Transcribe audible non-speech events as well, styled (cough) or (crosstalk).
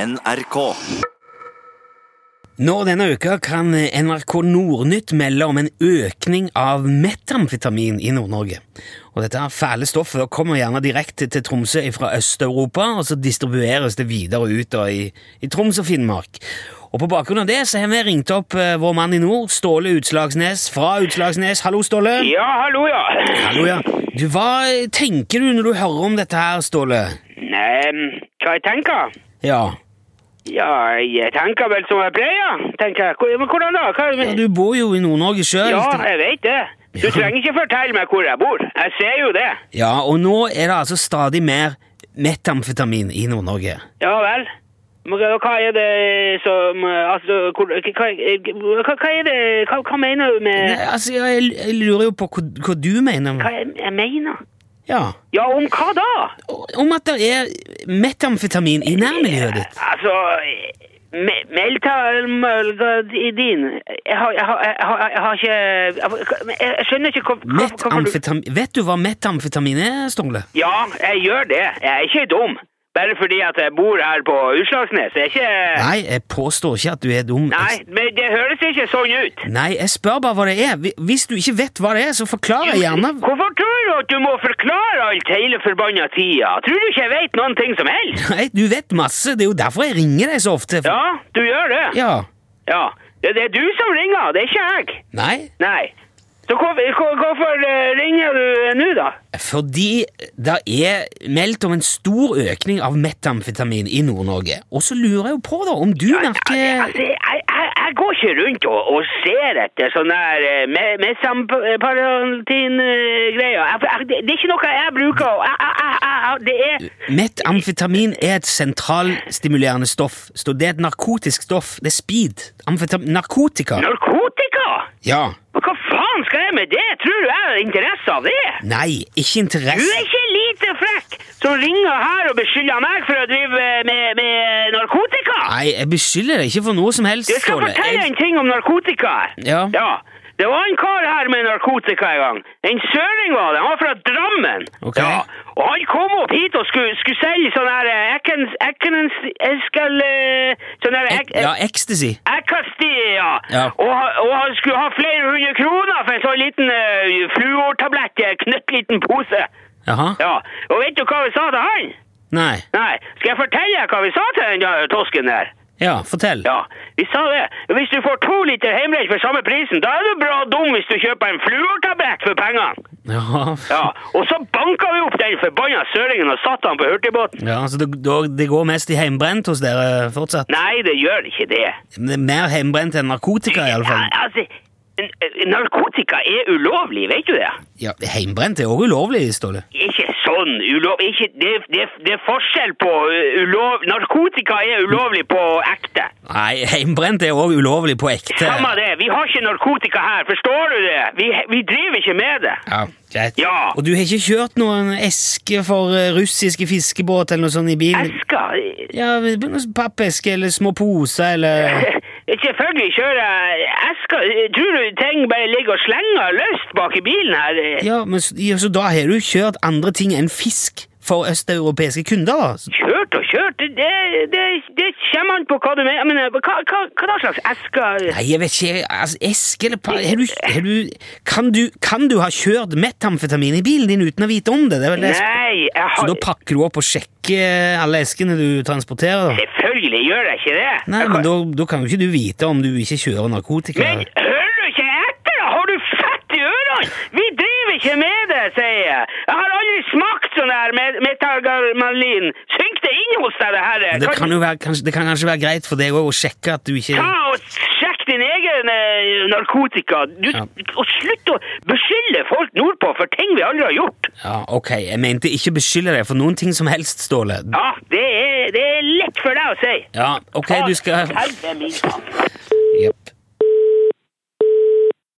NRK. Nå denne uka kan NRK Nordnytt melde om en økning av metamfetamin i Nord-Norge. Og Dette fæle stoffet kommer gjerne direkte til Tromsø fra Øst-Europa, og så distribueres det videre ut da, i, i Troms og Finnmark. Og På bakgrunn av det så har vi ringt opp eh, vår mann i nord, Ståle Utslagsnes fra Utslagsnes. Hallo, Ståle. Ja, hallo, ja. Hallo, ja. Du, Hva tenker du når du hører om dette her, Ståle? Nei, hva jeg tenker? Ja, Ja, jeg tenker vel som jeg pleier, tenker jeg. Hvor- Men hvordan da? Hva er det ja med- du bor jo i Nord-Norge sjøl. Ja, jeg vet det. Du trenger ikke fortelle meg hvor jeg bor. Jeg ser jo det. Ja, og nå er det altså stadig mer metamfetamin i Nord-Norge. Ja vel. Men hva hva er det som Altså, hvor- hva, hva, hva er det Hva, hva mener du med Nei, Altså, jeg, jeg lurer jo på hva, hva du mener. Hva jeg, jeg mener? Ja. Ja, om hva da? Og- Om at det er metamfetamin i nærmiljøet ditt. Altså me- Meltalmølgadin jeg, har- jeg, har- jeg, har- jeg har ikke Jeg, jeg skjønner ikke hva, hva, hva, hva du Metamfetamin. Vet du hva metamfetamin er, Ståle? Ja, jeg gjør det. Jeg er ikke dum. Bare fordi at jeg bor her på Utslagsnes. Jeg er ikke Nei, jeg påstår ikke at du er dum. Nei, men det høres ikke sånn ut. Nei, jeg spør bare hva det er. Hvi- Hvis du ikke vet hva det er, så forklar jeg gjerne. Hvorfor tror du at du må forklare alt hele forbanna tida? Tror du ikke jeg vet noen ting som helst? Nei, du vet masse. Det er jo derfor jeg ringer deg så ofte. Ja, du gjør det? Ja. Ja. Det, det er du som ringer, det er ikke jeg. Nei, Nei. Så hvorfor, hvor- hvorfor eh, ringer du eh, nå, da? Fordi det er meldt om en stor økning av metamfetamin i Nord-Norge. Og så lurer jeg jo på, da, om du Ja, merker altså, jeg, jeg, jeg går ikke rundt og, og ser etter sånne her eh, mesamparantin-greier. Det, det er ikke noe jeg bruker. å- Jeg, jeg, jeg, jeg, jeg, det er Metamfetamin er et sentralstimulerende stoff. Så det er et narkotisk stoff. Det er speed. Amfetam narkotika. narkotika! Ja. Men Hva faen skal jeg med det? Tror du jeg har interesse av det? Nei, ikke Du er interesse ikke lite frekk som ringer her og beskylder meg for å drive eh, med, med narkotika! Nei, jeg beskylder deg ikke for noe som helst, Jeg skal Ståle. fortelle Jeg- en ting om narkotika. Ja. ja. Det var en kar her med narkotika en gang. En søring var det. Han var fra Drammen. Ok. Ja. Og han kom opp hit og skulle, skulle selge sånn her eh, Ekkens... Ekkens... Eskel... eh, Sånn her... Ek, Ja, ecstasy. Ekkasti, ja. Ja. Og, han- og han skulle ha flere hundre kroner for en sånn liten uh, fluortablett i en knøttliten pose. Jaha. Ja. Og vet du hva vi sa til han? Nei. Nei. Skal jeg fortelle deg hva vi sa til den der tosken der? Ja, fortell. Ja, vi sa det. Hvis du får to liter hjemmebrent for samme prisen, da er du bra dum hvis du kjøper en fluortablett for pengene. Ja, Ja, og så banka vi opp den forbanna søringen og satte han på hurtigbåten. ja så det, det går mest i heimbrent hos dere fortsatt? Nei, det gjør ikke det. Det er Mer heimbrent enn narkotika, iallfall. Ja, altså, n- n- narkotika er ulovlig, vet du det? Ja, heimbrent er også ulovlig, Ståle. Ikke sånn ulov... Ikke, det, det, det er forskjell på uh, ulov... Narkotika er ulovlig på ekte. Nei, heimbrent er også ulovlig på ekte. Samme det, vi har ikke narkotika her, forstår du det? Vi, vi driver ikke med det. Ja, greit. Ja. Og du har ikke kjørt noen eske for eh, russiske fiskebåt eller noe sånt i bilen? Esker Ja, noen pappeske eller små poser eller Eh, (laughs) Selvfølgelig kjører jeg esker. Tror du ting bare ligger og slenger løst bak i bilen her? Ja, men s- ja, så da har du kjørt andre ting enn fisk for østeuropeiske kunder, da? S- Kjørt og kjørt, det, det, det, det kommer an på hva du mener. Jeg mener, hva, hva, hva da slags esker? Nei, jeg vet ikke, altså, eske eller pa... Har du, har du, kan du Kan du ha kjørt metamfetamin i bilen din uten å vite om det? det, er vel det jeg spør- Nei, jeg så har... da pakker du opp og sjekker alle eskene du transporterer? da? Selvfølgelig gjør jeg ikke det. Nei, Jeg men kan- da, da kan jo ikke du vite om du ikke kjører narkotika. Men hører du ikke etter? da? Har du fett i ørene? Vi driver ikke med det, sier jeg. Jeg har aldri smakt sånn her met metalgarmalin. Synk det inn hos deg, det her. det, kan jo være, kanskje, det kan kanskje være greit for deg òg å sjekke at du ikke Ta og sjekk din egen eh, narkotika. Du, Ja. Og slutt å beskylde folk nordpå for ting vi aldri har gjort. Ja, ok, jeg mente ikke beskylde deg for noen ting som helst, Ståle. Ja, det er, det er lett for deg å si. Ja, ok, du skal Helvete min.